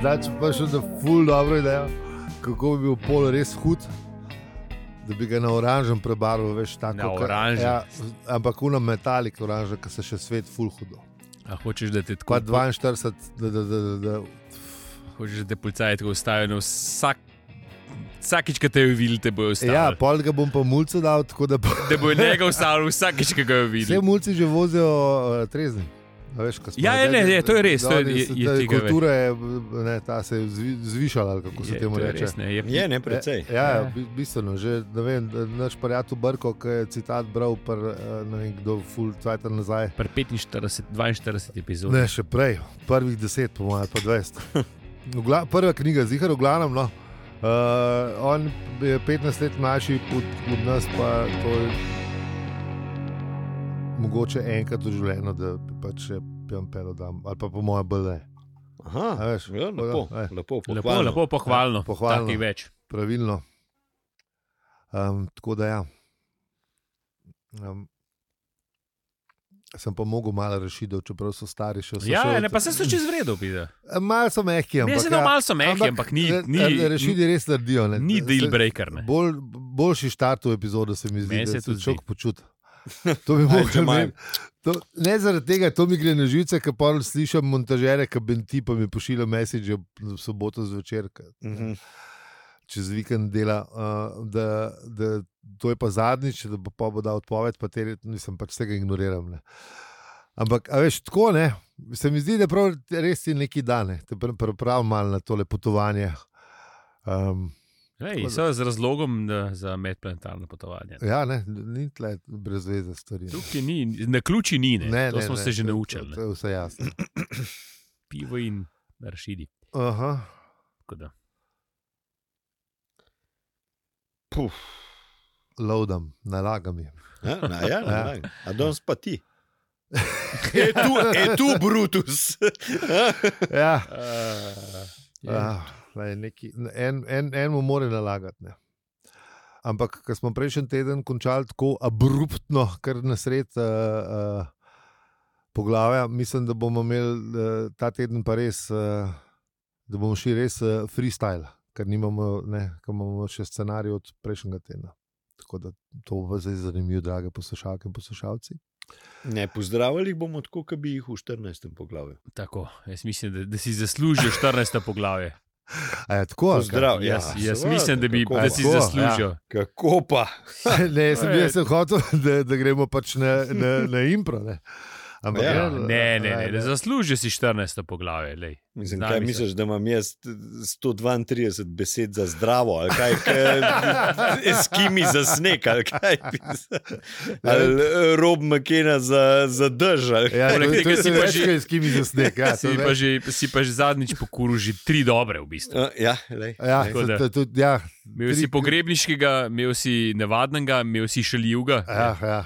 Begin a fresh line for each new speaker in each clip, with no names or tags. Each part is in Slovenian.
Zdaj, če pa še za ful dobro idejo, kako bi bil pol res hud, da bi ga na oranžen prebarval, veš, tako.
Na
ka-
oranžen.
Ja, ampak uno metalik oranžen, ki se še svet ful hudo.
A hočeš, da te tako
Kva 42, da, da, da, da, da.
Hočeš, da te policaje tako ustavijo, no, vsak, vsakič, ko te jo vidijo, te bojo ustavili.
Ja, pol ga bom pa mulce dal, tako da pa.
Da bojo njega ustavili vsakič, ko ga jo
Vse
vidijo.
mulci že vozijo uh, trezni. A Veš, ko smo
Ja, ja,
rekli,
ne, ne, to je res,
da
to je-
oni
je-
so-
je
ta
tega več.
Kultura je, e, ne, ta se je zvi- zvišala, ali kako se temu
to je
reče.
res, ne, je,
Je, E, ne, precej.
Ja, ja, bi- bistveno. Že, ne vem, naš prijatelj Brko, ki je citat bral, pr, eh, ne vem, kdo full cajt nazaj.
Pri 45, 42 epizod.
Ne, še prej, prvih deset, po mojem, pa dvajset. V gla- Prva knjiga, zihar, v glavnem. No. Uh, on je 15 let mlajši od, od nas, pa to je mogoče enkrat v življenju, da bi pač še pijem pelo dam, ali pa po mojem bolj ne.
Aha,
A veš,
ja, lepo,
ja, ej.
lepo,
Lepo,
pohvalno.
lepo, pohvalno.
Ja, pohvalno.
Takih več.
Pravilno. Um, tako da ja. Um, sem pa mogel malo rešitev, čeprav so stari še vse.
Ja, ne, pa se so čez vredno, vidi.
Malo so mehki,
Ne,
ampak.
zelo malo so mehki, ampak ni,
re-
ni,
Rešili res naredijo. Ne.
ni
Se-
deal breaker. ne.
Bolj, boljši start v epizodo se mi zdi,
Meni se
da se
tudi
človek
zdi.
počuti. To bi lahko
Jamal.
imel. Ne zaradi tega, to mi gre na živce, ker pa slišim montažere, ki benti pa mi pošilja message v soboto zvečer, ke
Mhm.
čez vikend dela, uh, da, da to je pa zadnjič, da bo pa bo dal odpoved, pa te nisem pač tega ignoriral. Ne. Ampak, a veš, tako ne. Se mi zdi, da prav res ti neki dane, te pripravim malo na tole potovanje. Um,
Ej, so z razlogom da, za medplanetarno potovanje.
ja, ne, ni tle brez veze stvari. ne.
Tukaj ni, na ključi ni, ne. to smo se že
to- To,
naučili. ne.
to je vse jasno.
Pivo in rašidi.
Aha.
Tako da.
Puf.
Lovdam, nalagam je.
Ja, na, ja, na,
Ja.
ja. A danes pa ti. Je tu, je tu Brutus.
Ja,
Ja.
Ah, lej, neki, en, en, en mu mora nalagati. Ne. Ampak, ko smo prejšnji teden končali tako abruptno, kar na sred uh, uh, poglavja, mislim, da bomo imeli uh, ta teden pa res, uh, da bomo šli res uh, freestyle, ker nimamo, ne, ker imamo še scenarij od prejšnjega tedna. Tako da to bo zdaj zanimivo, drage poslušalke in poslušalci.
Ne, pozdravili jih bomo tako, kot bi jih v 14. poglavju.
Tako, jaz mislim, da, da si zaslužijo 14. poglavje.
A je tako? ali kaj?
Pozdrav, ja,
Jaz, jaz
seveda,
mislim, da, bi,
kako
da si
pa.
zaslužijo.
Kako pa?
ne, sem bil sem hotel, da, da gremo pač na, na, na impro. Ne. Ampak,
Ja,
Ja, ne, ne, ne, ne, zaslužijo si 14. poglavje. Lej.
Mislim,
Znam
kaj
mislim.
misliš, da imam jaz 132 besed za zdravo, ali kaj, eskimi za sneg, ali kaj, ali eh, rob makena za, za drž, ali kaj.
Ja, to,
Poleg
to,
tega
to
si
si
pa
več,
že-
kaj s kimi zasnek. Ja,
Ja,
to
si,
več-
pa že, si pa že zadnjič pokuril, že tri dobre v bistvu.
Eh, Ja, lej.
Ja,
Tako da-
to- to- ja,
Imel
tri-
si pogrebniškega, imel si nevadnega, imel si šaljivga.
Ja, ja.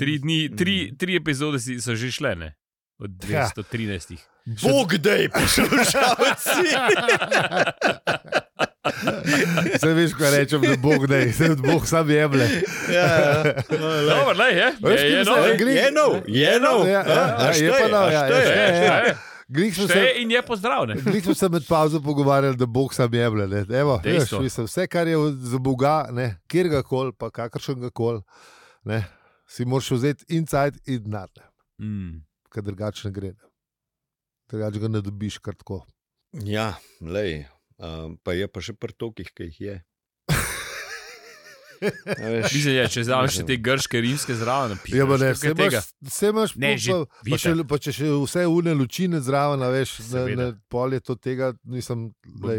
Tri, dni, tri,
Mm.
tri epizode si- so že šle, ne? od
Ja.
213.
Bog dej, poslušalci.
Zdaj veš, kaj rečem, da Bog da je, zdaj Bog sam jemlje.
Ja,
Dobro, le je,
Veš,
je,
kaj
je, no,
mislim?
je,
Gre-
Je nov, je nov.
Ja, ja, ja,
A
je pa
šteje,
nov,
a
ja,
šteje.
ja, ja.
je,
Glih smo
je,
se,
in je pozdravljen.
glih smo se med pauzo pogovarjali, da Bog sam jemlje. ne. Evo, veš,
Dejstvo.
mislim, vse, kar je od- za Boga, ne, kjer ga kol, pa kakršen ga kol, ne, si moraš vzeti inside in denar, ne,
Mm.
ker drugače ne gre. ne. Drugače ga ne dobiš kar tako.
Ja, lej. Um, pa je pa še pri tokih, ki jih je. A veš,
Mislim, je, če zdaj še te grške, rimske zraven, piše.
Ja, pa ne, vse
vse
imaš,
tega.
vse imaš
Ne,
pa-
že
pa, pa,
vidiš.
še, pa če še vse une lučine zraven, a veš, na,
Seveda.
na polje to tega nisem.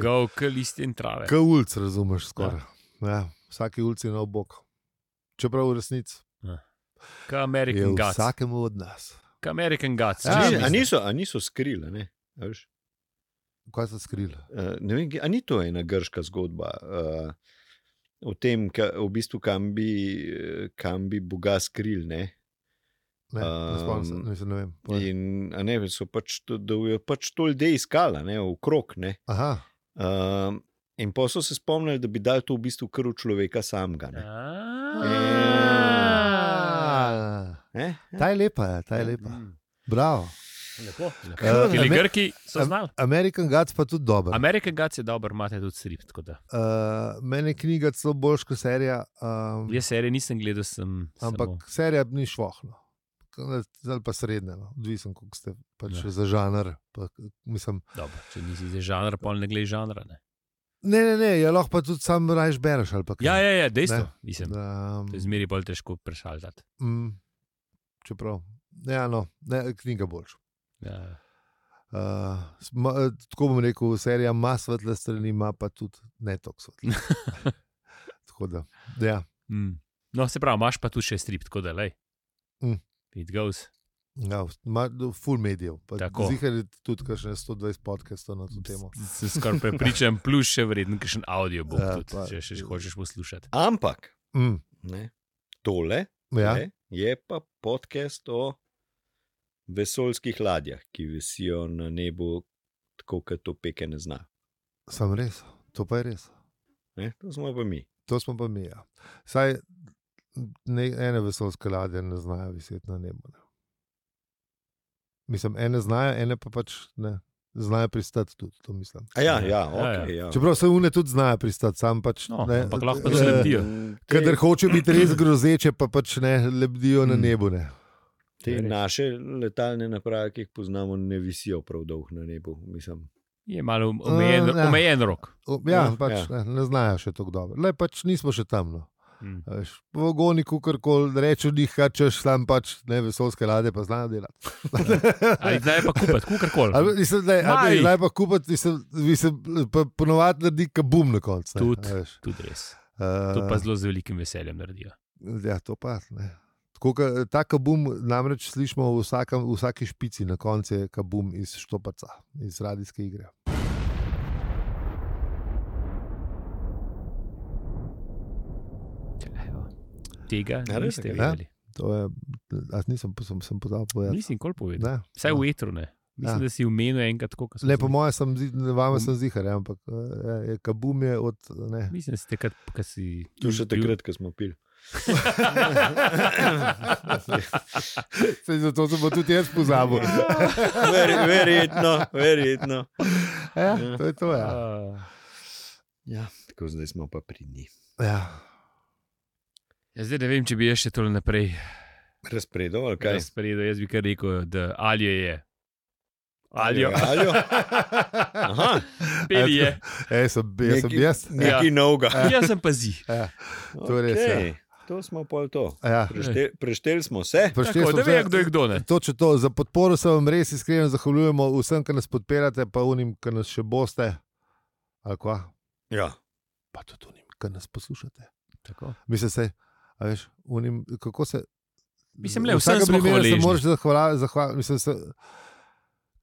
Gov, k list in trave.
Kaj ulc, razumeš skoraj. Ja. Vsaki ulc je na obok. Čeprav v resnici
K
je
American Guts.
vsakemu od nas.
K American Guts.
Ja,
a, ni,
Mislim.
a, niso, a niso skrile, ne? A veš,
Kaj so skrili?
eh, ne vem, kje- a ni to ena grška zgodba uh, o tem, ka, v bistvu, kam bi, eh, kam bi Boga skril. Ne?
Ne, ne spomnim se,
Ehm,
mislim, ne vem. povej.
In a ne, so pač, to- da jo je pač to ljudje iskala, ne, okrog. Ne?
Aha,
Um, in pa so se spomnili, da bi dal to v bistvu kar v človeka samega. Ne?
Ah.
Ja.
Eh, ja. Mm.
ta je lepa, ja, ta je lepa. Bravo.
Lepo, lepo.
Ja, Eh,
Ili
Amer-
Grki so znali.
American Gods pa tudi dober.
American Gods je dober, imate tudi strip. tako da.
Uh, meni je knjiga celo boljša kot serija. Um,
Jaz serije nisem gledal, sem.
Ampak
samo-
serija ni švohla. Ali pa srednja, no. odvisno koliko ste pač
Ja.
za žanr. Pa, mislim,
Dobro, če nisi za žanr, pol ne gledaš žanra. Ne?
ne, ne, ne, je lahko pa tudi sam rajš bereš. ali pa kaj.
Ja, ja, ja, dejstvo.
Ne.
Ne. Mislim,
Da,
to je zmeri bolj težko prešaltati.
mm, čeprav, ja, no, ne, knjiga boljša.
Ja.
Uh, sma- eh, tako bom rekel, serija ima svetle strani, ima pa tudi ne toliko svetle. tako da, ja,
Mm. No, se pravi, imaš pa tu še strip, tako da le.
Mm.
It goes.
ja, ima full medijev.
Tako.
Zihar je tudi kakšne 120 podcastov na to temo.
Sem skoraj prepričan, plus še vreden, kakšen audio bo,
Ja,
ja, tudi,
pa-
če še hočeš poslušati.
Ampak
Mm,
ne, tole
ja.
ne, je pa podcast o vesoljskih ladjah, ki visijo na nebu, tako kot to peke ne zna.
Sam res, to pa je res.
Ne, to smo pa mi.
To smo pa mi. Ja. Saj ne, ene vesoljske ladje ne znajo viseti na nebu. Ne. Mislim, ene znajo, ene pa pač ne. Znajo pristati tudi, to mislim.
A ja,
Ja,
ja,
ja,
okay, ja.
Čeprav se une tudi znajo pristati, sam pač.
No,
ne,
ampak lahko pa
eh,
tudi lebdijo.
Te-
Kadar hoče biti res grozeče, pa pač ne lebdijo na
Mm.
nebu. Ne.
Te
Ja, res.
naše letalne naprave, ki jih poznamo, ne visijo prav dolgo na nebu. Mislim.
Je malo omejen,
Ja.
uh, omejen rok.
O, Ja,
Ja,
pač, Ne, ne znajo še tako dobro. Le pač nismo še tam. No.
Mm.
A veš, V agoniku, kar koli rečeš, njih kačeš, sam pač ne vesoljske lade, pa znajo delati.
Ali zdaj je pa kupiti, kukorkoli.
Ali mislim, da je
Maj.
zdaj pa kupiti, mislim, mislim, pa ponovadi naredi kabum na koncu. ne,
Tudi.
a veš.
Tudi res.
Eh,
To pa zelo z velikim veseljem naredijo.
Ja, to pa. Ne. Tako, ka, ta kabum namreč slišimo v, vsakem, v vsaki špici, na koncu je kabum iz Štopaca, iz radijske igre.
Evo. Tega
Ja, res
niste
je,
ja.
videli.
To je, a nisem, sem, sem podal povedati.
Nisem nikoli povedal.
Ne,
Vsaj v etru ne.
Ja.
Mislim, da si umenil enkrat, kako
ne, po mojem, sem, zi- ne, vame sem zihar, ja, ampak eh, je, je kabum je od. Ne.
Mislim, da si takrat, ko si.
To še takrat, ko smo pili.
Saj Zato sem pa tudi jaz pozabil.
Ver, verjetno, verjetno.
Ja, to je to. Ja.
Uh,
Ja, tako zdaj smo pa pri njih.
Ja.
ja, zdaj ne vem, če bi jaz še tole naprej
Razpredo ali kaj?
razpredal. Jaz bi kar rekel, da ali je. Ali je.
ali jo. Aha, Ja.
Peli je.
Ej, sem, bi- jaz sem
Nekaj-
jaz.
nekaj novega.
Jaz sem pa zi.
To je res,
Okej, To smo pol to.
Ja.
Prešte, prešteli smo se.
Prešteli
Tako,
smo
da
vse.
ve, kdo je kdo. Ne?
Točno to, za podporo se vam res iskreno zahvaljujemo, vsem, ki nas podpirate, pa unim, ki nas še boste, ali kva,
Ja.
pa tudi unim, ki nas poslušate.
Tako.
Mislim, se, a veš, unim, kako se.
Mislim, le,
v
vsem
vsakem
smo
primeru se
hvaležni.
moraš zahvaliti. Zahval, mislim, se,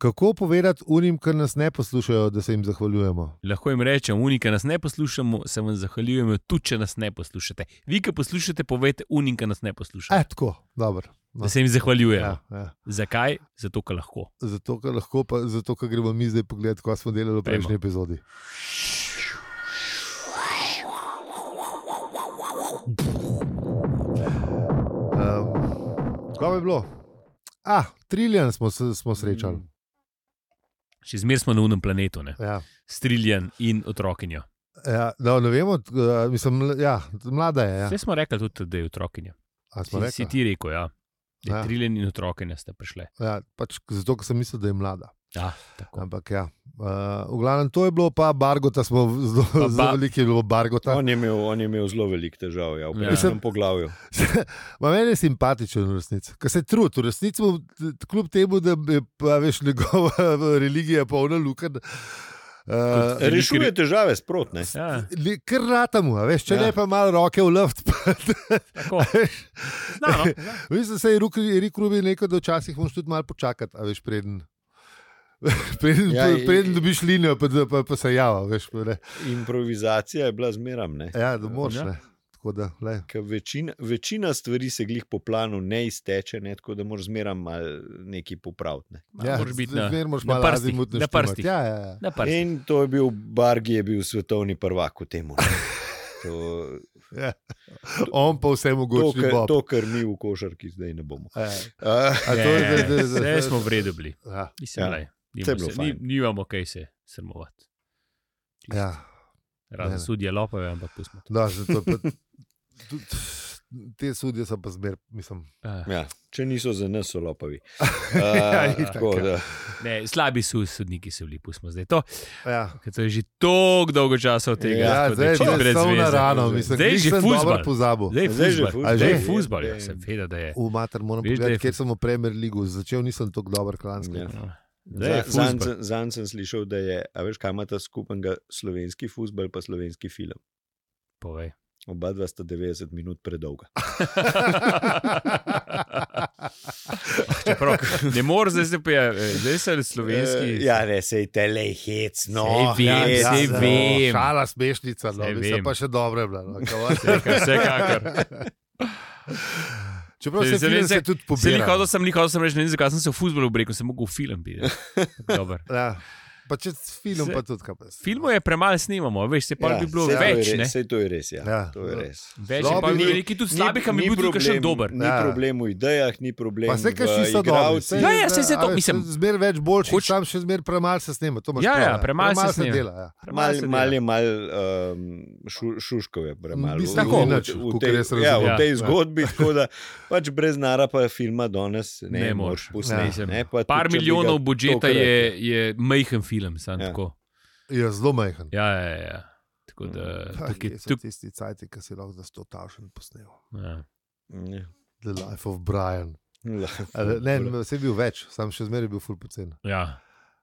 kako povedati unim, ki nas ne poslušajo, da se jim zahvaljujemo?
Lahko jim rečem, unika nas ne poslušamo, se vam zahvaljujemo, tudi če nas ne poslušate. Vi, ki poslušate, povejte, unika nas ne posluša.
E, tako, dobro.
Da se jim zahvaljujemo. Ja.
Ja, ja.
Zakaj? Zato, ker lahko.
Zato, ker lahko, pa, zato, ker gremo mi zdaj pogledati, kaj smo delali v
Pejmo.
prejšnji epizodi. Um, kaj bi bilo? A, triljen smo, se- smo srečali.
Mm. Še zmeraj smo na unem planetu, ne?
Ja.
striljen in otrokinjo.
Ja, no, ne vemo, t- eh, mislim, ml- ja, mlada je. Ja.
Vse smo rekli tudi, da je otrokinja.
A smo
Si, si
rekli?
ti rekel, ja. da
Ja.
je triljen in otrokinja sta prišle.
Ja, pač, zato, ker sem mislil, da je mlada.
Ja, tako.
Ampak ja. Uh, v glavnem, to je bilo pa Bargota, smo v- zelo,
Pa
zelo
ba-
veliko je bilo Bargota.
On je, imel, on je imel zelo veliko težav, ja, v
Ja.
prejšnjem poglavju.
Ma meni je simpatičen v resnici, ker se trudi, v resnici mu, t- kljub temu, da je pa, veš, njegova religija polna lukenj. Uh,
Veliko-
Rešuje težave sprotne.
Ja,
Ker ratamo, a veš, če ja.
Ja.
ne pa malo roke v luft.
tako. Zna, no, zna.
Veš, da se je Ruk- Erik Rubin rekel, da včasih moraš tudi malo počakati, a veš, preden. Preden,
Ja,
ja,
in-
preden dobiš linijo, pa, da- pa, pa se java. Veš, pa ne.
Improvizacija je bila zmeram. Ne?
ja, da moraš.
Ja.
Ja. Tako da, le.
Ker Večina, večina stvari se glih po planu ne izteče, ne? tako da moraš zmeram malo nekaj popraviti. Ne?
Ja,
moraš biti na-
zmer moraš
na
malo
prstih,
azimutno
na
štimati.
prstih.
Ja, ja, ja.
Na prsti.
In to je bil Bargi, je bil svetovni prvak v tem. To,
On pa vse
to,
mogoče.
kar, to, kar mi v košarki zdaj ne bomo. Uh,
Vse Ja, smo vredni bili.
Ja,
Mislim,
Ja.
glej,
To je
nimamo
bilo
se-
fajn.
ni- Nimamo kaj se sramovati.
ja. Ne,
Razen
ne.
sudje lopave, ampak pustimo. to.
Da, že to je pa, tudi, te sudje so pa zmer, mislim.
Ah,
ja, če niso za nas, so lopavi.
Ja,
Uh,
itak,
tako,
ja.
da,
Ne, slabi so sodniki, so bili, pustimo zdaj to.
Ja.
Ker to je že tako dolgo časa od tega,
Ja,
tako da
zdaj
je čisto
je
brez
to na
veze.
rano,
zdaj-
mislim,
zdaj
glih
že
sem dobro
fuzbal.
Pozabil.
Zdaj je
Zdaj že
fuzbal,
fuzbal.
zdaj je
A že?
fuzbal, ja,
Ja.
seveda, da je.
V mater moram
Veš, da je
pogledati,
fu-
ker sem v Premier League, začel nisem tako dober klanski.
Ja.
Ja.
Zdaj je
Zanj
fuzbal.
sem- zanj sem slišal, da je, a veš, kaj ima ta skupnega slovenski futbol in slovenski film.
Povej.
Oba dva sta 90 minut predolga.
Čeprav, ne moreš, zdaj se pije, zdaj se slovenski.
Eh, Ja, ne, sej tele hec, no,
Oh,
Saj vem,
hec,
saj
no.
vem.
ja, Šala smešnica, no,
Saj
mislim,
vem.
pa še dobro je bila. No,
Vsekakor, vsekakor.
Čeprav
Saj-
se
saj
film
vem,
se
saj-
tudi
Se ni
pobira. no.
hodil, sem nikoli sem rekel, ne vem, zakaj sem se v futbolu obrekel, sem mogel v film biti. Dobar.
Ja. Pa če s film,
Saj-
pa tudi kaj. pa jaz.
Filmov je premalo snimamo, veš, se pa
Ja,
bi bilo
saj to je
več.
re-
ne.
Sej to je res, ja.
Ja.
To je res.
Več
Slabi
je pa
bil-
bilo nekaj tudi slabih, ampak
Ni-
je
ni
bil tudi še
problem-
dober.
Ni
Ja.
problem v idejah, ni problem.
Pa se kaj
v
še so dobri.
igralcih.
saj-
Ja, ja, saj se to-
a veš,
mislim-
Zmer več boljših, Hoč...
Hoč-
sam še zmer premalo se snema. to imaš
Ja,
prav,
ja,
ne.
premalo se
se
snema.
dela. Ja.
Premalo
Mal,
se
mal
dela.
je mal um, šu, šuškov, je premalo.
Mislim,
V-
tako,
v-
nič,
v
kakor
tej-
jaz razumem.
ja, v
Ja.
tej zgodbi, tako da pač brez nara pa filma danes ne,
Ne moreš.
moreš posneti.
Ja.
ne, pa
Par
tudi, če bi
milijonov
ga
budžeta
tokrat-
je, je majhen film, samo
Ja.
ja. tako.
Je zelo majhen.
Ja, ja, ja, ja. Tako
Mm.
da,
Ah,
tukaj,
Kje so
tuk,
tisti cajti, ki si lahko za 100 tašen posnel?
ja.
Ne.
The Life of Brian.
Lahko.
Ali, Ne, vse je bil več, sam še zmeraj je bil full pocen.
Ja,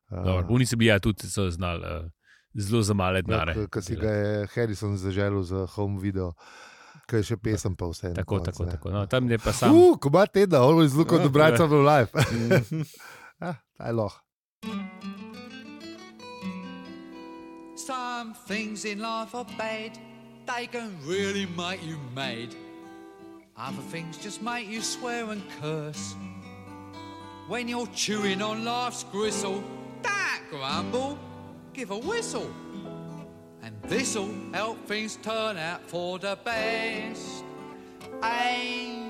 dobro. Oni so bili ja, tudi so znali eh, zelo za
Ja,
male denare.
Ki si
delati.
ga je Harrison zaželil za home video, ki je še pesem pa vse.
Tako, tako, tako. No, tam je pa sam.
Uh, ko ima tedna, on je zelo kot
Ja,
obrajca
ja.
v live. Ja, taj loh.
Some things in life are bad, they can really make you mad. Other things just make you swear and curse. When you're chewing on life's gristle, that grumble, give a whistle. And this'll help things turn out for the best. And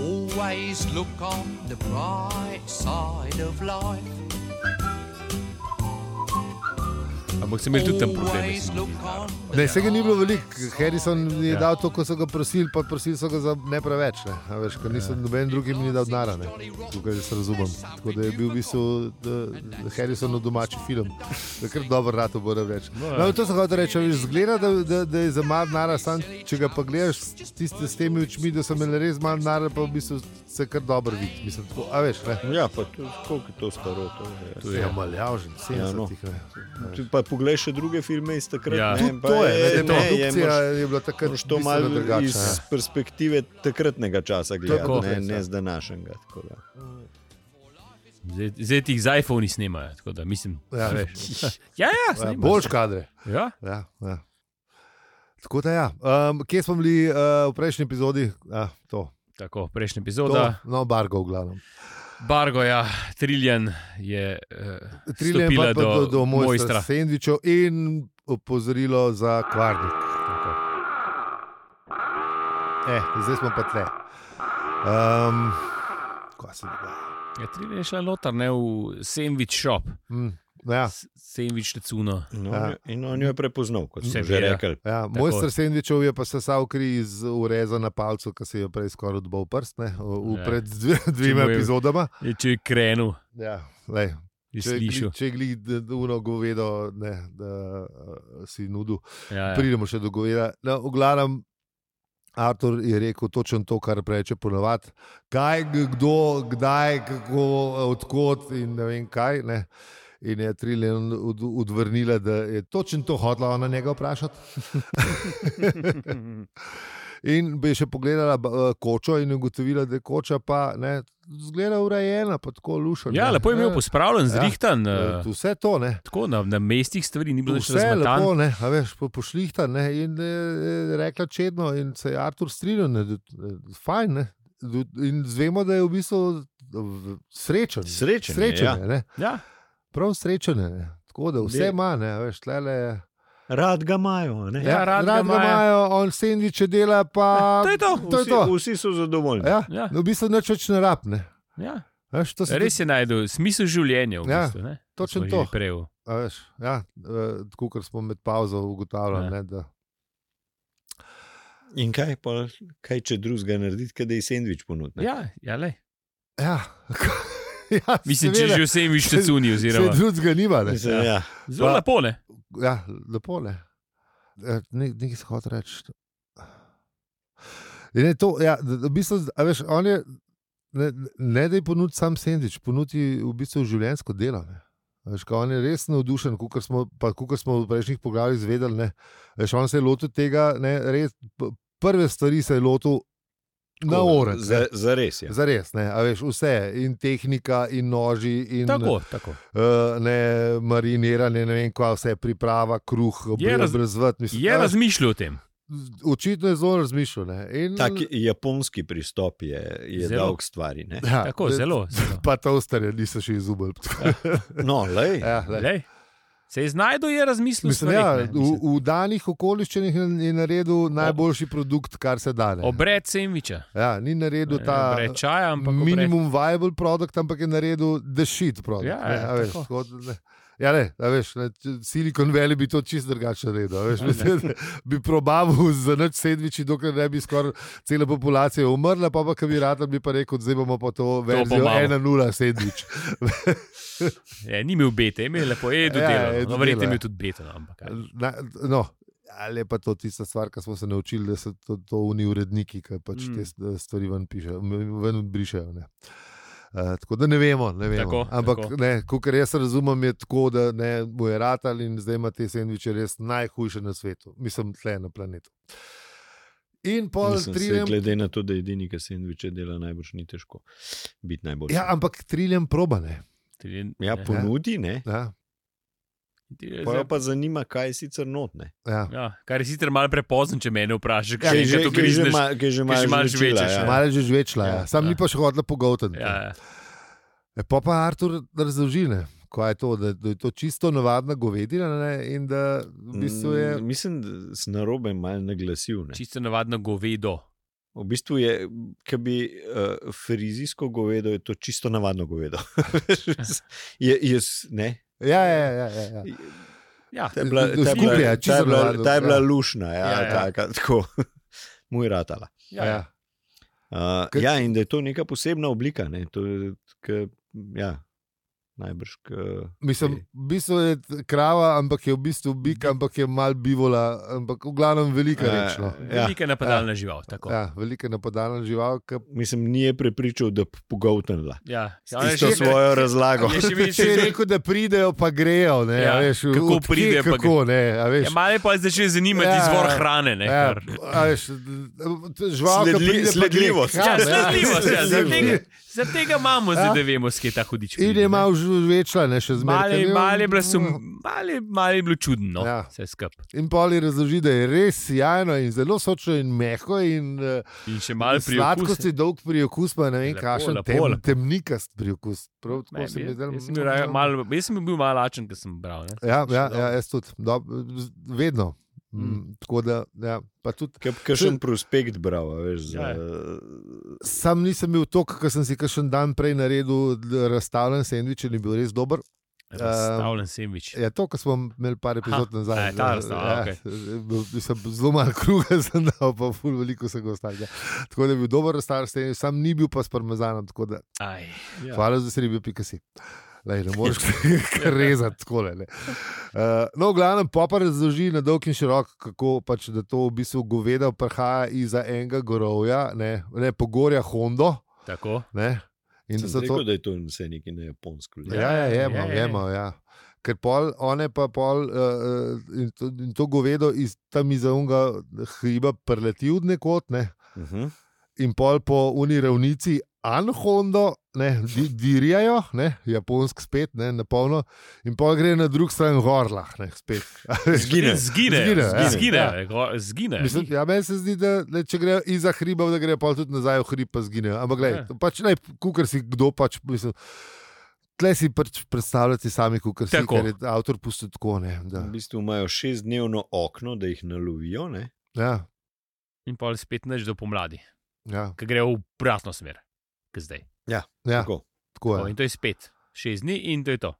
always look on the bright side of life.
Ampak sem imel tudi tam probleme.
Always
s
look on the
Ne, se ga ni bilo
bright
veliko, Harrison je
Ja.
dal to, ko so ga prosili, pa prosili so ga za ne preveč. Ne. a Veš, ker nisem noben drugim ni dal denara, ne. tukaj se razumem. Tako da je bil v bistvu da, Harrisonov domači film, da je kar dobro rato bo reči. No, to sem hotel reči, a veš, zgleda, da, da, da je za malo denara, sam če ga pa gledaš s tiste, s temi očmi, da so imeli res malo denara, pa v bistvu se kar dobro vidi. Mislim, tako, a veš, ne.
Ja, pa tudi, koliko je to staro. To je.
To je Ja, no. maljav že, 70-ih. ne.
Tudi Pa poglej še druge filme iz takrat.
Ja.
ne,
Tudi
pa
to je, ne,
ne,
da
je
produkcija
moraš-
je bila takrat
moraš to
bistveno
malo
drugačna,
iz
ja.
perspektive takratnega časa
Tako.
gledati, ne,
Res, ja.
ne z današnjega. tako da.
Zdaj, zdaj ti jih z iPhoni snimajo. tako Da, mislim,
Ja.
ja, veš. ja, ja,
Ja,
snimajo.
Boljš kadre.
Ja,
Ja, ja. Tako da, ja. um, kje smo bili uh, v prejšnji epizodi? Ah, to,
tako, prejšnja
to,
epizoda.
no, Bargo, v glavnem.
Bargo, ja, Triljan je. Uh,
Trilje
stopila
pa do, do, do mojstra
mojstra.
sendvičev in opozorilo za kvarnik. Tako. Eh, zdaj smo pa tle. Um, kaj se dogaja?
Ja, Triljan je šla noter, ne v sandwich shop,
Mm, ja,
S- sandwich necuno.
No,
Ja.
In on jo je prepoznal, kot ste
Se
že
ve, ja.
rekli.
ja, mojster sendvičev je pa sesal kri iz ureza na palcu, ki se je prej skoraj odbal prst, ne, v, v
Ja.
pred dve, dvema
mu je-
epizodama.
Je, če je krenil,
Ja, lej,
je
Če je gli-
slišal.
Če je glih uno govedo, ne, da uh, si nudil,
Ja, ja.
pridemo še do goveda. No, v glavnem, Artur je rekel točno to, kar reče ponovadi. Kaj, k- kdo, kdaj, kako, odkot in ne vem kaj. Ne. In je Triljen od- odvrnila, da je točno to hodila ona njega vprašati. in bi še pogledala ba- eh, kočo in ugotovila, da je koča pa ne, zgleda urejena, pa tako lušena.
ja, lepo je imel pospravljen,
Ja.
zrihtan.
Eh,
Ja.
Vse to, ne.
Tako na, na mestih stvari ni bilo nič
Vse je
razmetano.
lepo, ne, a veš, po, pošlihta ne, in je, je rekla čedno, in se je Artur strinjal, ne, da- da- fajn. Ne, Du- in zvemo, da je v bistvu v- srečen.
Srečen je,
srečen
ja.
je, ne,
Ja.
prav srečen je. Ne. Tako da vse
Ne.
ima, ne, a veš, tlele je.
Rad ga imajo. a ne?
Ja, rad ga
rad ga
imajo.
imajo, on sendiče dela, pa
To je to.
to je
Vsi,
to.
vsi so zadovoljni.
Ja,
Ja.
V bistvu nič več ne rabne.
Ja.
Veš, to se
Res je najdel smisel življenja. V
Ja,
bistvu, ne?
točno
Smo že
to.
prej v-
A Veš, ja, eh, tako kot smo med pauzo ugotavljali.
Ja.
Ne, da,
In kaj, pa, kaj če drugega narediti, kaj da je sendvič ponudil?
Ja, ja, lej.
ja. ja,
Mislim, če že vsem viš te cuni.
Vse drugega nima. Ne.
Mislim, ja.
Zelo
Pa-
lepo, ne?
Ja, lepo je. Nekaj se hoče reči. Je Ne, to, ja, d- v bistvu, a veš, on je, ne, ne da je ponudil sam sendvič, ponudi v bistvu življenjsko delo. Ne. A Veš, ko on je res navdušen, kot smo, pa kakor smo v prejšnjih poglavjih izvedeli. ne. Veš, on se je lotil tega, ne, res, p- prve stvari se je lotil na
Tako,
orec.
Za, ja. za res
Ja.
je.
Za res, ne, a veš, vse, in tehnika, in noži, in
Tako, tako.
eh, ne, mariniranje, ne vem, kaj vse, priprava, kruh,
Je raz-
brezvrt.
Je razmišljal o tem.
Očitno je zelo razmišljal. ne, In,
Tak japonski pristop je, je
Zelo.
dal k stvari. Ne?
ja,
Tako,
ne,
zelo. no. zelo.
Pa to ostarje, niso še izumili.
No, lej,
Ja, glej.
Lej. Se je znašel, je razmislil.
Mislim,
stvareh,
ja,
ne, mislim.
v, v danih okoliščinah je- je naredil najboljši produkt, kar se da. ne.
Obred sendviča.
Ja, ni naredil ta
Obred čaja, ampak obred-
minimum viable produkt, ampak je naredil the shit produkt.
Ja,
ne,
ja,
a veš,
tako.
tako, ne. Ja, ne, a veš, ne, če- Silicon Valley bi to čist drugače naredil. a Veš,
Ja,
mislim, da bi probaval za noč sedmiči, dokler ne bi skoraj cela populacija umrla, pa, pa ki bi rad bi pa rekel, zdaj bomo pa to verzijo
imamo.
1-0 sedmič.
Ja, ni imel bete, imel je lepo, je
Ja,
dodelal.
je
Ja, no,
dodelal,
verjetno je
ja.
imel tudi beto. No, ampak, ja.
Na, no, ali je pa to tista stvar, ki smo se naučili, da so to, to oni uredniki, ki pač
Mm.
mm. te s- stvari ven, pišejo, m- ven brišejo. Ne. Uh, tako da ne vemo. Ne vemo.
Tako,
Ampak,
tako.
ne, kar jaz razumem, je tako, da ne bo je ratal in zdaj ima te sendviče res najhujše na svetu, mislim, tle na planetu. In pol
mislim, se,
triljem,
glede na to, da je edini, ki sendviče dela, najbrž ni težko biti najboljši.
ja, ampak triljem probane.
Tudi-
ja,
ne.
ponudi, ne.
Ja,
Tudi-
Pa jo pa zanima, kaj je sicer notne.
ja.
Ja, kar je sicer malo prepozno, če me vprašaš,
Ja,
kaj je to križneš.
ki že
že malo
malo
žvečeš,
žvečeš.
ja.
Malo je že žvečla, ja.
Ja,
ja. sam
ja.
ja. ni pa še hodila pogotiti.
Ja, ja.
E, Pa pa Artur razloži, ne, kaj je to, da, da je to čisto navadna govedina ne, in da v bistvu je.
Mm, Mislim, da sem na robe malo naglasil. Ne.
Čisto navadno govedo.
V bistvu je, ki bi uh, frizijsko govedo, je to čisto navadno govedo. je, jaz, ne.
Ja, ja, ja. ja, ja.
Ja,
Ta je bila, ta je bila,
Skuplja,
ta je
čisto
bila,
navadno,
ta je bila
ja.
lušna, ja,
Ja,
ja,
ja.
ja. Taka, tako. Mu je ratala.
ja, ja.
Uh,
Ker-
ja, in da je to neka posebna oblika. Ne, to, je, k, ja, najbrž. K,
Mislim, v bistvu je t- krava, ampak je v bistvu bik, ampak je mal bivola, ampak v glavnem velika
Eh,
reč. No.
Ja.
Velika napadalna žival. tako.
Ja, velika napadalna žival, ki
mislim, ni je prepričal, da pogotnila.
Ja, ja,
Ja,
ona je
Isto
še-
svojo razlago.
Je še videl,
če je
če-
rekel, da pridejo, pa grejo. Ne,
Ja,
a veš, v-
kako
od kje,
pridejo, pa
kako, ne, a veš,
Ja, malo je pa začel zanimati
Ja,
izvor
ja.
hrane. Ne,
ja,
kar-
a veš, žval, ki
Sledli-
pride, pa gre
sledljivost.
k
Ja,
nam,
sledljivost, ja, zaradi
sledljivost.
tega- Zaradi tega imamo zdaj,
Ja.
da vemo, skje ta hudič.
In
pride,
je
ne.
malo žvečla, ne še zmeraj.
Malo
ker
je-
je-
malo je bilo sum- malo je- malo je bilo čudno, no,
Ja.
vse skupaj.
In poli razloži, da je res sjajno in zelo sočno in mehko. In, eh,
In še malo pri
Sladkosti dolg priokus, pa ne vem,
Lepo,
kakšen
lepo,
tem,
lepo.
temnikast priokus. Prav tako
Meni,
se mi je
jaz,
zdelo-
jaz, sem bil raje malo- jaz sem bil malo lačen, ker sem bral. Ne?
Ja, ja,
Še
ja, jaz tudi. Dob, z- vedno. Mm.
Mm.
Tako da, ja, pa tudi
Kaj še en prospekt bral, a veš. Za,
Ja,
sam nisem bil to, kar sem si kakšen dan prej naredil, d- razstavljen sendvič in je bil res dober.
Razstavljen sandvič.
Eh, Ja, to, kar smo imeli par epizod
Aha,
nazaj.
a je ta razstava,
ja,
okej.
bil- bil sem zelo malo kruha, sem dal pa ful veliko se ga ostalega. Tako da je bil dober star stenj, sam ni bil pa s parmezanom, tako da
Aj.
ja.
Ja.
hvala za srebi, pika si. Lej, ne moreš
Ja.
kar rezati tako. Uh, no, v glavnem pa pa razloži na dolg in širok, kako pač, da to v bistvu goveda prihaja iz enega gorovja, ne, ne pogorja Hondo.
Tako.
Ne, in da
Sem
so to
rekel, da je to vse nekaj na japonsko.
Ja, ja,
Ja,
je malo,
ja,
je
ja.
malo. Ja. Ker pol, one pa pol, uh, in, to, in to govedo iz tam iz unga hriba preleti od nekod, ne?
Uh -huh.
in pol po uni ravnici Anhondo, ne, di, dirjajo, ne, japonsk spet, ne, na polno, in pol gre na drug stran gorlah, ne, spet.
Zgine.
Zgine.
Zgine,
Zgine.
ja.
Zgine.
Ja.
go- Zgine.
Mislim, ja, meni se zdi, da ne, če grejo iza hriba, da grejo pol tudi nazaj v hrib, pa zginejo. Ampak, glej,
Ja.
pač naj, kukar si kdo pač, mislim. Tle si pač predstavljate sami, kot si,
Tako.
ker je avtor pustil tako. Ne, da,
V bistvu imajo šestdnevno okno, da jih nalovijo. Ne?
ja,
In pa spet neč do pomladi,
ja,
ki grejo v obratno smer, kot zdaj.
ja,
Tako.
tako
O,
je.
in to je spet šest dni, in to je to,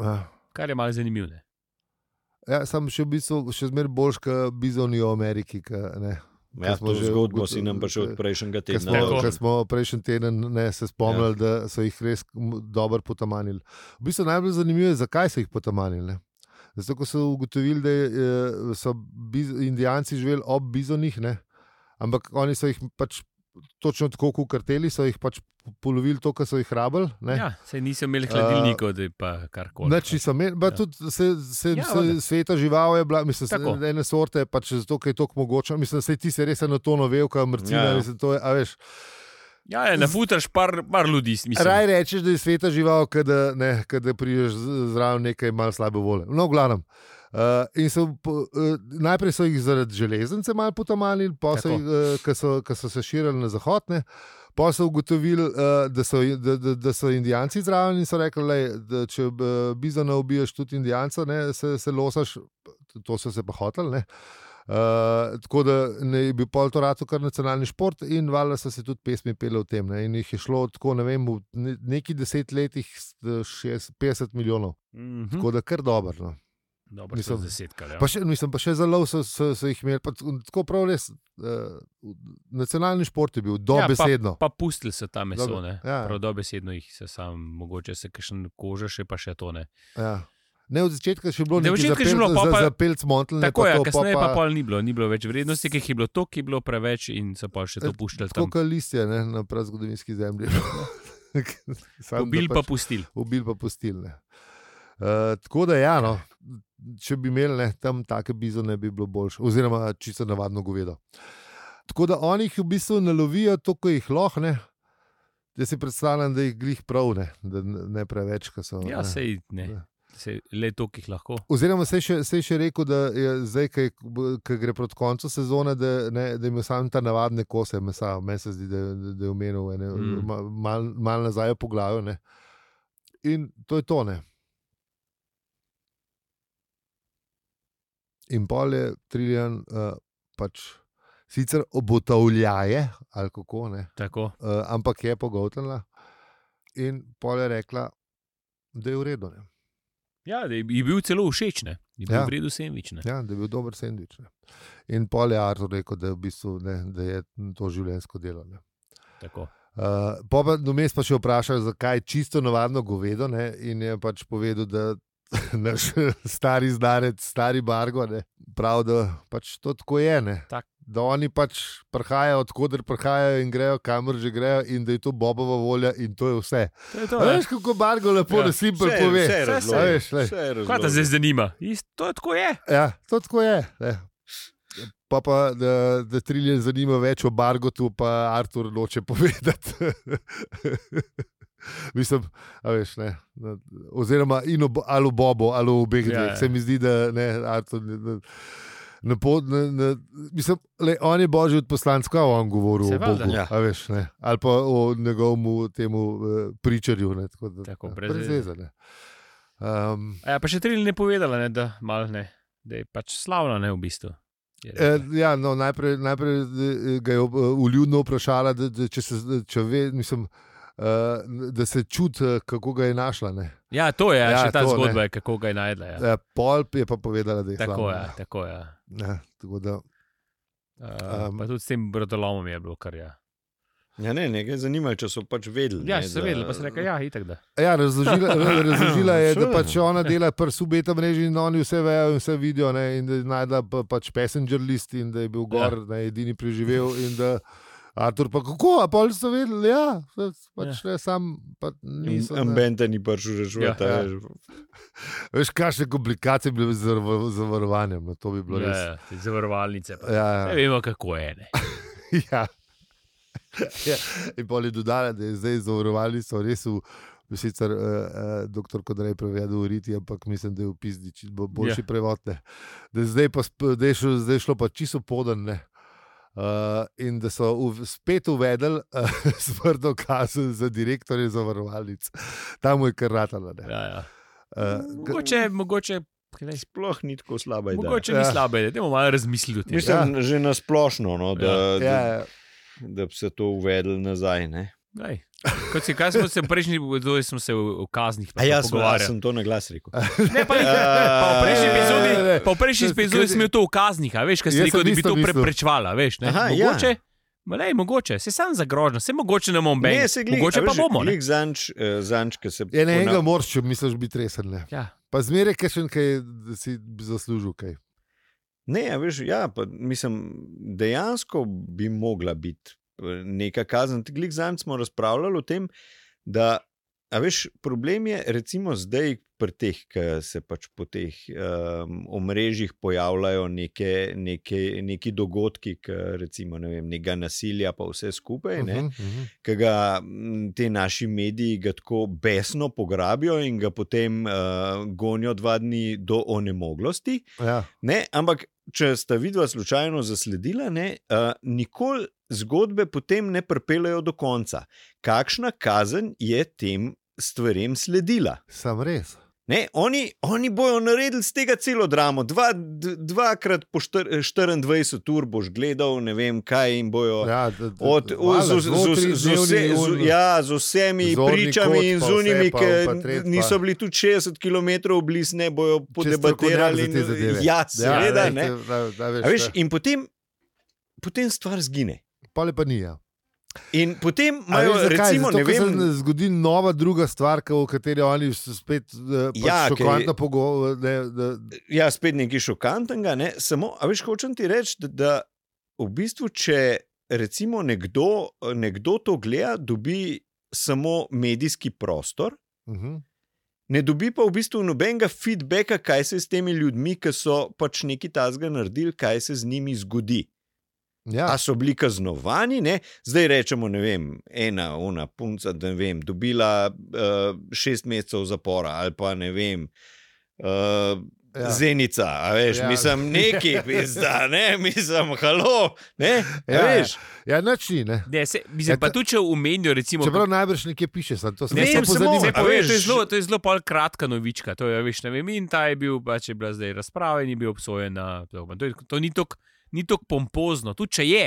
Ja.
kar je malo zanimivo. ne.
Ja, sam še, v bistvu, še zmeraj boljš, kot bizoni v Ameriki. Ka, ne.
Ja,
smo
to
že
zgodbo
ugotovili,
si nam pa še od
da-
prejšnjega
Ker
tedna.
smo,
Tako.
ker smo prejšnji teden ne, se spomnili, ja. da so jih res m- dobro potamanili. V bistvu najbolj zanimivo je, zakaj so jih potamanili. Ne? Zato, ko so ugotovili, da je, eh, so biz, Indijanci živeli ob bizonih, ne? ampak oni so jih pač točno tako kot karteli, so jih pač polovili to, kar so jih rabili. ne.
Ja, saj niso imeli hladilnikov, da je pa karkoli.
Nič niso imeli, pa
Ja.
tudi se, se,
Ja,
ja, se
valjda.
sveta žival je bila, mislim,
Tako.
da ene sorte, je pač zato, ker je to mogoče. Mislim, da ti se res na to novelka, mrcina,
Ja,
ja,
ja.
ja. mislim, to je, a veš.
Ja, ja nafutaš par, par ljudi, mislim.
Raj rečeš, da je sveta žival, kot da, ne, kot da prideš z- zraven nekaj malo slabe volje. No, glavno. Uh, in so, po- eh, najprej so jih zaradi železnice malo potamanili, pa so,
Tako.
uh, ko so, ko so se širili na zahodne. Pa so ugotovili, eh, da so, da, da, da so Indijanci zraven in so rekli, lej, da če eh, bizona ubiješ tudi Indijanca, ne, se, se losaš, to so se pa hoteli. ne. Uh, tako da ne je bil pol to rado kar nacionalni šport, in valjda so se tudi pesmi pele v tem. Ne? In jih je šlo tako, ne vem, v ne- neki desetletjih eh, šest- 50 milijonov,
Mhm.
tako da kar dobro. No.
Dobro,
Mislim-
mislim, desetkar, ja.
Pa še, mislim, pa še za lov so, so, so jih imeli, pa t- tako prav res. Uh, nacionalni šport je bil, dobesedno.
Ja, Pa pustili so ta meso,
Dobro,
ne.
ja, ja.
Prav dobesedno jih se sam, mogoče se kakšen koža še pa še to ne.
Ja. Ne, od začetka še bilo
Ne, od
nekaj
začetka je že bilo, pa pa-
za pelc montl, ne
Tako je,
to,
kasneje pa pol ni bilo, ni bilo več vrednosti, ki jih je bilo to, ki je bilo preveč in so pa še to puščali
Tako
tam.
kot listje ne, na prazgodovinski zemlji. Samo, da pač
Pobil pa pustil.
ubil pa postilne. Uh, tako da, ja, no, če bi imeli ne, tam take bizone, bi bilo boljše, oziroma čisto navadno govedo. Tako da oni jih v bistvu nalovijo, to, ko jih lohne. Jaz si predstavljam, da jih glih prav ne, da ne ne preveč, ko so.
Ja,
ne.
sej
Ja.
ne. Sej, le to, ki jih lahko.
Oziroma, se še, saj še rekel, da je zdaj, ki gre proti koncu sezone, da, ne, da ima samo ta navadne kose mesa. Meni se zdi, da, da- da je omenil, ene,
Mm.
mm. malo mal nazaj po glavi. ne. In to je to. Ne. In pol je Triljan uh, pač sicer obotavljaje, ali kako ne
Tako.
uh, ampak je pogotnila. In pol je rekla, da je v redu, ne.
Ja, da je je bil celo všeč, ne. Je bil
Ja.
v redu sendvič, ne.
ja, da je bil dober sendvič. Ne. In pol je Artur rekel, da je, v bistvu, ne, da je to življensko delo. Ne.
Tako.
Uh, po pa vmes pa še vprašali, zakaj je čisto navadno govedo. Ne, in je pač povedal, da naš stari znanec, stari Bargo, ne, pravi, da pač to tako je. Ne,
Tak.
Da oni pač prihajajo, odkuder prihajajo in grejo, kamor že grejo, in da je to bobova volja, in to je vse.
To je to,
A
ne.
Veš, kako Bargo lepo
Ja.
ja.
Vse
simpel
je-
pove.
vse je
Vse
razložil,
se- veš, lej.
vse
Kaj
je
te
razložil.
zdaj zanima? Ist, to je tako je.
Ja, to tako je. Ne. Pa pa, da, da trilje zanima več o Bargotu, pa Artur noče povedati. Mislim, a veš, ne. da- Oziroma, in ob, ali o Bobu, ali o obeh
Ja,
dveh.
ja.
Se mi zdi, da ne, Artur. Ne, ne, Na pod, na, na, mislim, le, on je božji od poslancev, kaj on govori
Se
o
valjda.
Bogu.
Ja.
Ja. Veš, ne, ali pa o njegovem temu uh, pričarju. Ne, tako, da,
Tako,
ja,
brez veze.
veze. ne. Um,
A ja, pa še Trilj ne povedala, ne, da, mal, ne, da je pač slavna, ne v bistvu. Je
E,
rekla.
ja, no, najprej, najprej eh, ga je ob- eh, vljudno vprašala, da, da, če, se, če ve, mislim, eh, da se čuti, eh, kako ga je našla. Ne.
Ja, to je, ja,
Ja,
še ta
to, ne.
zgodba je, kako ga je najdla. Ja.
Eh, Pol je pa povedala, da je
Tako je,
hladna.
tako je.
Ja, tako da,
Uh,
Um,
pa tudi s tem brodolomom je bilo kar ja.
Ja, ne, ne, ga je zanimalo, če so pač vedeli.
Ja,
ne,
se
da-
vedela, pa se reka, ja, itak da.
ja, razložila, ra- razložila je, da
Seveda.
pač ona dela pri subeta mreži in oni vse vejo in vse vidijo. Ne, in da je najdla pa, pač passenger list in da je bil gor, ja. ne, edini preživel. in Da, Artur pa kako, a pol so vedeli, ja, pač ja. ne sam, pa niso. ne.
Ambente ni prišel rešiti.
Ja.
Ja,
Veš, kakšne komplikacije bi bile z zavar- zavarovanjem, no, to bi bilo
Ja,
res.
ja, te zavarovalnice. Pa.
Ja,
Ne
ja.
vemo, kako je. Ne.
ja. ja. In pol je dodala, da je zdaj zavarovali, so res v. Sicer uh, uh, doktor Kodrej prevedel v Riti, ampak mislim, da je v Pizdiči boljši
Ja.
yeah. prevod. Ne. Da je zdaj, pa, sp- da je šlo, zdaj šlo pa čisto podan. ne. Uh, in da so uv, spet uvedli uh, smrtno kazen za direktorje zavarovalnic. Tam mu je kar ratala. ne.
Ja, ja.
Uh, g-
Mogoče, mogoče, kaj naj-
Sploh ni tako slaba ideja.
mogoče
Ja.
ni slabe, da bomo malo razmislili o tem.
Mislim, ja. že nasplošno, no, da, ja.
ja,
da,
ja.
da bi se to uvedlo nazaj. Ne?
Aj. Kot si kaj smo se prejšnji, zelo smo se o o kaznih
A
ja,
jaz sem, jaz
pogovarjali.
sem to na glas rekel.
Ne, pa ni. Pa v prejšnji
Ne, ne,
epizodi,
ne, ne.
pa v prejšnji
To je-
epizodi
kaj-
sem imel to v kaznih, a veš, kaj si
Jaz
rekel,
sem
da bi
isto
to
mislil.
preprečevala, veš, ne.
Aha, ja.
mogoče, ma lej, mogoče, se sam zagrožno, se mogoče ne bom bej.
se
Mogoče pa bomo. ne.
Zanč, eh, zanč, ki se
Ja, ne, enega
pona-
moraš, če misliš biti resen. Ne.
Ja.
Pa zmeraj kašen, kaj da si zaslužil. Kaj.
Ne, a veš, ja, pa, mislim, dejansko bi mogla biti eh, neka kazen. Glej, zanj smo razpravljali o tem, da, a veš, problem je recimo zdaj pri teh, ki se pač po teh um, omrežjih pojavljajo neke, neke, neki dogodki, ki recimo ne vem, nekega nasilja, pa vse skupaj. Ne?
Mhm, mhm.
ki ga m, ti naši mediji ga tako besno pograbijo in ga potem uh, gonijo dva dni do onemoglosti.
Ja.
Ne? Ampak, če sta vidva slučajno zasledila, ne, uh, nikoli zgodbe potem ne pripeljejo do konca. Kakšna kazen je tem stvarem sledila?
Sam res.
Ne, oni, oni bojo naredili z tega celo dramo. Dva, d- dvakrat po štir- 24 ur boš gledal, ne vem kaj jim bojo.
Ja, da- da-
Od,
valjda,
z, z, z, z,
dvotridnevni
vse,
un-
z, ja, z vsemi
zorni kot
pričami in
pa
z
vse,
unimi,
pa
ki
pa tret, pa-
niso bili tudi 60 km blizu, ne bojo
strokovnjak
podebatirali.
za te
in-
zadeve.
Ja, seveda.
da,
Ja, ne,
da, da, da, veš,
A veš,
da.
in potem, potem stvar zgine.
Pole pa ni. Ja.
In potem
A
imajo,
veš, zakaj?
recimo,
Zato,
ne
ker
vem,
Se zgodi nova druga stvar, ka- o kateri oni s- spet eh, pač
Ja,
ja,
ker
šokantno
je-
pogovarjajo.
ja, spet nekaj šokantnega, ne? samo, a veš, hočem ti reči, da, da v bistvu, če recimo nekdo, nekdo to gleda, dobi samo medijski prostor.
Mhm.
Ne dobi pa v bistvu nobenega feedbacka, kaj se je s temi ljudmi, ki so pač neki tasga naredili, kaj se z njimi zgodi.
Ja,
A so bili kaznovani, ne? zdaj rečemo, ne vem, ena, ona punca, da ne vem, dobila uh, šest mesecev zapora ali pa ne vem. Uh,
ja.
Ja. Zenica, a veš,
Ja.
ja. mislim, neki, pizda, ne, mislim, halo, ne, a
Ja,
veš.
ja nič ni. Ne.
Ne, se, mislim,
Ja,
pa
to-
tudi če omenijo, recimo.
Čeprav najbrž nekje piše, sad, to se
Ne,
ne
sem samo,
pozanima.
se
A
poveš,
veš-
to je zelo, to je zelo pol kratka novička. To je, a veš, ne vem, in ta je bil, pač je bila zdaj razprava in je bil obsojen na dolgo. To, je- to ni tako tok pompozno, tudi če je,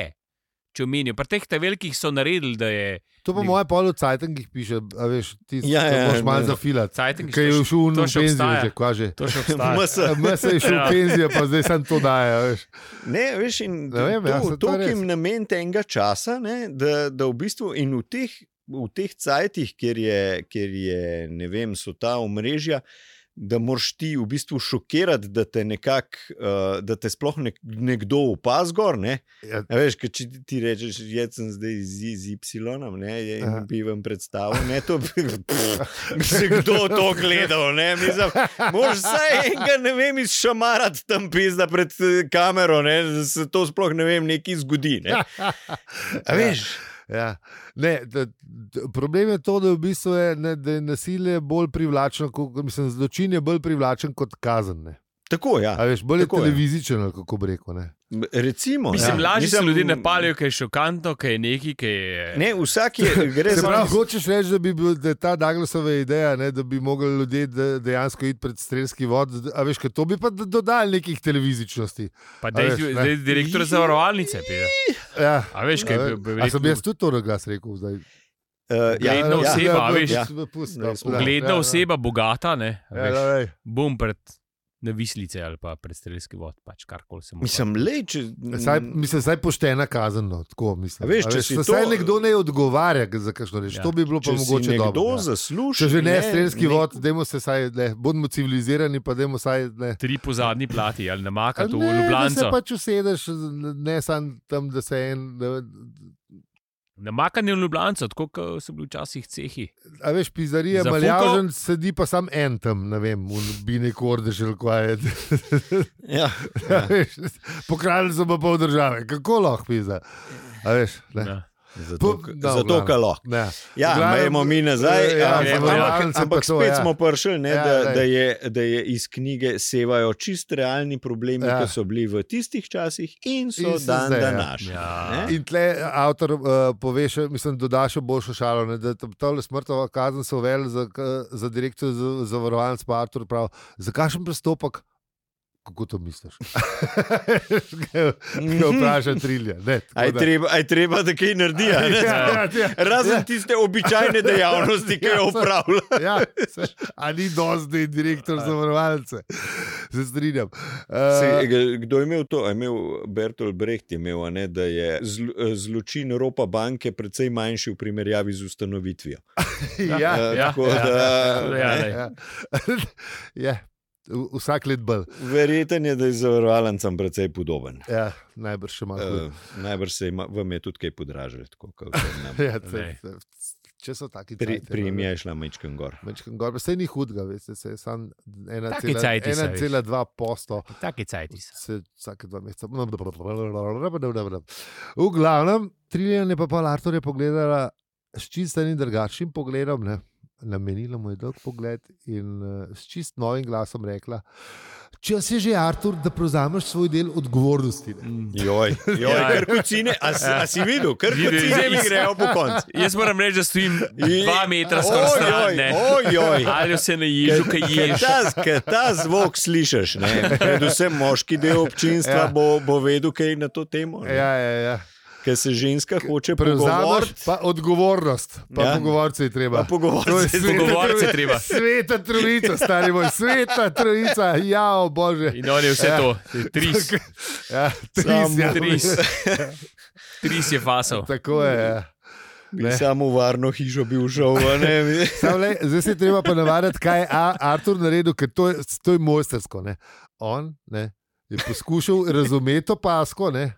če omenijo. Pri teh ta velikih so naredili, da je
To pa
Ne.
moje polo cajtengih piše, a veš, ti
Ja,
ja,
ja,
moraš malo
ne.
zafilati.
Cajtengih
Kaj
to
je
še-
šel v
to še
penzijo,
obstaja.
že kvaže.
to še obstajalo.
MS,
Mesa je šel v
Ja.
penzijo, pa zdaj sem to daje. a Veš.
Ne, veš, in
Ne vem,
to,
ja, saj to je
to, to
res.
jim namen tega časa, ne, da, da v bistvu in v teh, v teh cajtih, kjer, je, kjer je, ne vem, so ta omrežja, da moraš ti v bistvu šokirati, da te, nekak, uh, da te sploh nek, nekdo opazi gor. Ne.
Ja,
A Veš, ker če ti- ti rečeš, jaz sem zdaj z Y, ne, je-
Aha.
in bi vam predstavil, ne, to bi se kdo to gledal, ne, mislim, moraš vsaj enega, ne vem, izšamarati tam pizda pred eh, kamero, ne, da se to sploh ne vem, nekaj zgodi, ne. A veš,
Ja. Ne, da, da, problem je to, da, v bistvu je, ne, da je nasilje bolj privlačno, kot, mislim, zločin je bolj privlačen kot kazen. Ne.
tako, ja,
A veš, bolj je
Tako je.
televizičen, ali kako bi rekel. Ne.
recimo.
Mislim,
ja.
lažje se
Mislim,
ljudje napalijo, ker je šokantno, ker je neki, ker je.
Ne, vsak je, gre
Se
za
pravi, hočeš reči, da, bi bil, da je ta Douglasova ideja, ne, da bi mogli ljudje de- dejansko iti pred strelski vod, a veš, kaj to bi pa d- dodali nekih televizičnosti.
Pa
A
da je
veš, ne.
zdaj direktor zavarovalnice. pije.
Ja.
A veš, kaj
A
je
ve-
bil.
a sem jaz tudi to na glas rekel? Zdaj?
Uh, ja,
Gledna
ja,
oseba, a veš.
ja, pusti, no, pusti,
Ugledna
ja, ja.
oseba, bogata, ne. a
Ja,
veš.
da, daj.
bom pred navislice ali pa pred strelski vod, pač karkoli se mu.
Mislim, le, če.
Saj,
Mm.
mislim, saj poštena kazen, no, tako mislim.
A veš,
A
če si
to...
to-
Saj nekdo ne odgovarja za kakšno reč. Ja.
Ja.
To bi bilo pa
Če si
mogoče
nekdo
dobro. Ja.
zasluži,
Če že ne,
ne,
strelski
nek-
vod, dajmo se saj, ne, bodimo civilizirani, pa dajmo saj ne.
Tri po zadnji plati ali
A
namaka to v
ne, da se
Ljubljano.
pač usedeš, ne samo tam, da se en. ne,
Namakanje v Ljubljano, tako kot so bili včasih cehi.
A veš, pizzerija,
Zafukal?
maljavžen, sedi pa sam en tam, ne vem, bi nekordeš ali kaj je.
Ja,
A
ja.
veš, Pokrali so pa pol države, kako lahko pizza. A veš, ne.
Ja.
Zato,
Pup,
k-
da,
zato
v
ker
glavnem.
lahko.
Ne. V
Ja,
glavnem,
imamo mi nazaj,
eh, ja,
ampak- ampak,
zavarovalnice pa
ampak
to,
spet
ja.
smo prišli, ne,
Ja,
da,
daj.
da, je, da je iz knjige sevajo čist realni problemi,
Ja.
ki so bili v tistih časih in so
In
in
so
dan
zdaj, ja.
današnji.
Ja.
ne.
In tle avtor uh, pove, še, mislim, doda še boljšo šalo. Ne, da ta smrtna kazen so uveli za, k- za direktor zavarovalnic, pa Artur pravi, za kakšen prestopek. Kako to misliš? Ne vprašaj trilje. Ne, tako
A je
da-
treba, a je treba, da kaj naredi? a ne?
Ja, ja, ja.
Razen tiste običajne dejavnosti, ki jo
Ja, so-
opravlja.
Ja, se, a ni dosti, da je direktor zavarovalnice. Se strinjam.
Se,
Uh,
g- kdo je imel to? A Je imel Bertolt Brecht je imel, a ne, da je zl, eh, zločin ropa banke precej manjši v primerjavi z ustanovitvijo.
ja,
Eh,
ja,
tako
ja, ja,
da,
ja,
ne.
daj.
ja. ja. v- Vsak let bolj.
Verjeten je, da je zavarovalencem precej podoben.
Ja, najbrž še malo. huje.
Uh, najbrž se ima, vam je tudi kaj podražilo, tako kot nam.
Ja,
Eh. ne.
se, se, če so taki
Pri,
cajti, no,
prijem je šla mečkam gor.
Mečkam gor, pa saj ni hudega, veste, se je sam
Taki cajti so,
1,2 posto.
Taki cajti so.
Se vsake dva meseca. No, V glavnem, Triljan je pa pa Artur pogledala s čistim in drugačnim pogledom. Ne? Namenila mu je dolg pogled in eh, s čist novim glasom rekla: Če si že, Artur, da prevzameš svoj del odgovornosti. Ne?
Mhm. Joj, joj
Ja.
ja. kar kucine, a, si- a si videl, kar
Videl,
kucine
videl.
mi grejo po koncu.
Jaz moram reči, da stojim
I-
dva metra
Oj,
stran.
joj,
ne.
oj, joj.
Ali se ne ježu, kaj
Ker
ješ.
ta, ker ta zvok slišiš, ne? predvsem moški del občinstva ja.
Ja.
bo, bo vedel, kaj je na to temo. ne.
Ja, ja, ja.
Ker se ženska hoče
Prevzameš
prevzati.
pa odgovornost, pa
Ja.
ja. pogovorce je treba.
Pa pogovorce
To
je
je
treba.
sveta
Pogovorce je
tro-
treba.
Sveta trojica, stari moj, sveta trojica, ja, o bože.
In on je vse to, tris,
Ja, tris,
Samo
ja,
tris. Tris je fasal.
Tako je. Ja. Ne.
Samo v varno hišo bi ušel. a ne.
Samo le, Zdaj se je treba pa navaditi, kaj je A- Artur naredil, ker to je, to je mojstersko. Ne. On ne, je poskušal razumeti to pasko. Ne.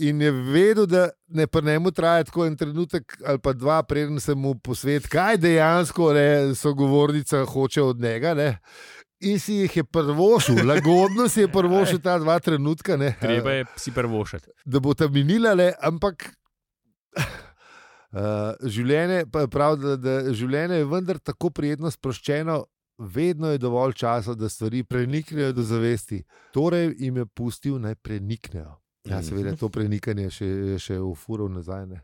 In je vedel, da ne pri njemu traja tako en trenutek ali pa dva, preden se mu posveti, kaj dejansko ne, sogovornica hoče od njega. Ne. In si jih je prvošil, lagodno si je prvošil ta dva trenutka. Ne,
Treba je si prvošati.
da bo ta minila, le, ampak uh, življenje, pa je prav, da, da življenje je vendar tako prijetno sproščeno, vedno je dovolj časa, da stvari preniknejo do zavesti. Torej jim je pustil, naj preniknejo. Ja,
Mhm.
seveda, to prenikanje je še, je še v furov nazaj. Ne.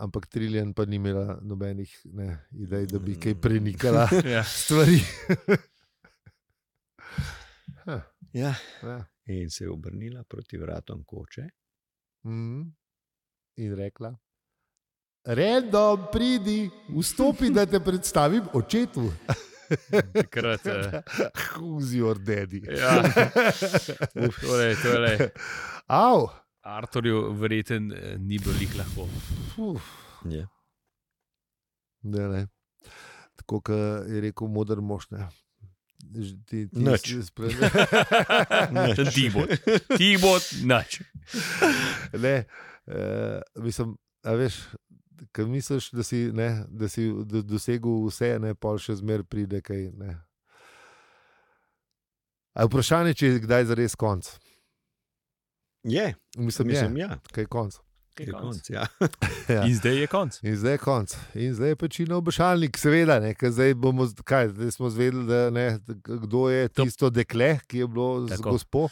Ampak Triljan pa ni imela nobenih ne, idej, da bi
Mm.
kaj prenikala
Ja.
stvari.
Ja.
Ja.
In se je obrnila proti vratom koče.
Mm. In rekla, redno pridi, vstopi, da te predstavim očetu.
Takrat, eh,
Who's your daddy?
ja. Uf, torej, torej,
Au,
Arturju verjeten ni bilo jih lahko.
Uf,
Ja.
ne, ne. Tako kot je rekel modr mož. Ne. Ž- Ti, ti
Nič.
si spre-
Ti bo, ti bo, nač.
ne, eh, mislim, a veš, ko misliš, da si, ne, da si do- dosegel vse, ne, pol še zmer pride kaj. Ne. A je vprašanje, če je kdaj zares konc.
Je,
Mislim,
mislim,
je,
ja.
kaj je konc.
Je konc, ja.
Ja.
In zdaj je konc.
In zdaj je konc. In zdaj je pečino obešalnik, seveda, ne, ker zdaj bomo, z- kaj, zdaj smo zvedeli, da, ne, kdo je
To-
tisto dekle, ki je bilo z
Tako.
gospo.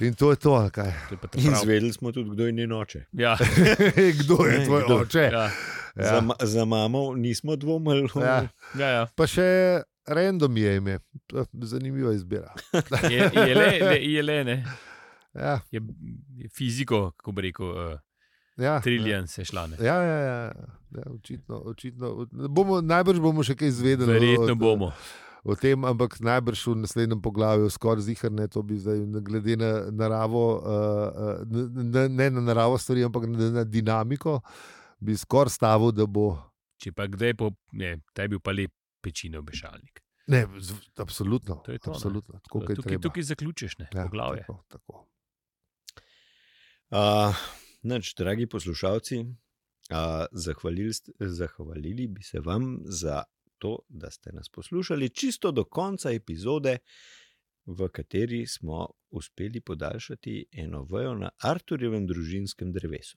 In to je to, ali kaj.
To je pa ta
In
prav.
zvedeli smo tudi, kdo je njen oče.
Ja,
kdo je
Ne,
tvoj
kdo?
oče.
ja,
Ja.
Za, ma- za mamo nismo dvomili.
Ja.
ja, ja.
Pa še random je ime, To je zanimiva izbira.
Je, je le, le, je le, ne.
Ja,
Je, je fiziko, kako bi rekel, uh,
ja.
triljen se šla. Ne.
Ja, ja, ja. ja očitno. očitno. Bomo, najbrž bomo še kaj izvedeli.
Verjetno
o-
bomo.
O tem, ampak najbrž v naslednjem poglavju, skoraj zihrne, to bi zdaj, na- glede na naravo, eh, eh, ne, ne na naravo stvari, ampak na, na dinamiko, bi skoraj stavil, da bo.
Če pa kdaj, po, ne, ta je bil pa lep pečino obešalnik.
Ne, z, absolutno.
To je to, ne.
absolutno tako, kot je
Tukaj,
treba.
tukaj zaključiš, ne, ja, poglavje.
tako, tako.
Uh, nač, dragi poslušalci, uh, zahvalili, st- zahvalili bi se vam za to, da ste nas poslušali čisto do konca epizode. v kateri smo uspeli podaljšati eno vejo na Arturjevem družinskem drevesu.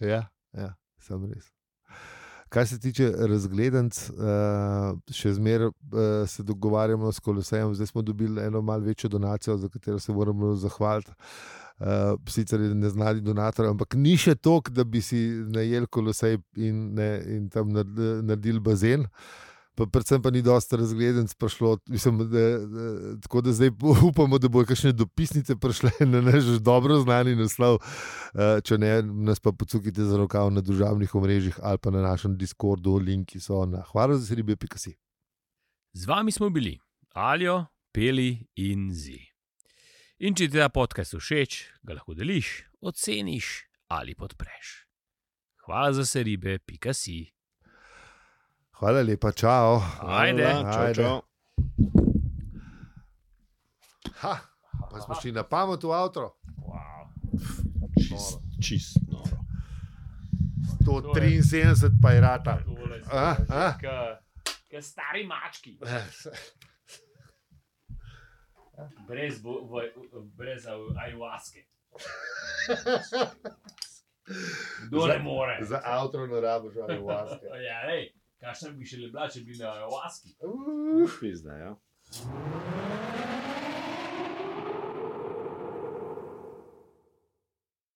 Ja, ja sem res. Kar se tiče razgledanc, eh, še zmeraj eh, se dogovarjamo s Kolosejem. Zdaj smo dobili eno malce večjo donacijo, za katero se moramo zahvaliti. Uh, sicer je neznani donator, ampak ni še tok, da bi si najel kolosej in, ne, in tam naredil bazen. Pa predvsem pa ni dosta razgledenc prišlo, mislim, da, da, tako da zdaj upamo, da bojo kakšne dopisnice prišle na naš dobro znani naslov. Uh, če ne, nas pa pocukite za rokav na družbenih omrežjih ali pa na našem Discordu, linki so na hvalo za ribe.si.
Z vami smo bili Aljo, Peli in Zi. In če ti ta podcast všeč, ga lahko deliš, oceniš ali podpreš. Hvala za seribe, pika si.
Hvala lepa, čau.
Ajde.
Hvala, čau,
Ajde.
čau.
Ha, pa smo šli na pamet v avto.
Čist, čist noro.
173 pa je rata. A, a?
Kaj stari mački. Brez, bo, vo, brez ajuaske. Kdo
ne
more?
Za avto ne rabiš, ali vaske.
Ja, ej, kakšen bi še le bila, če bi na ajuaski.
Pizda, ja.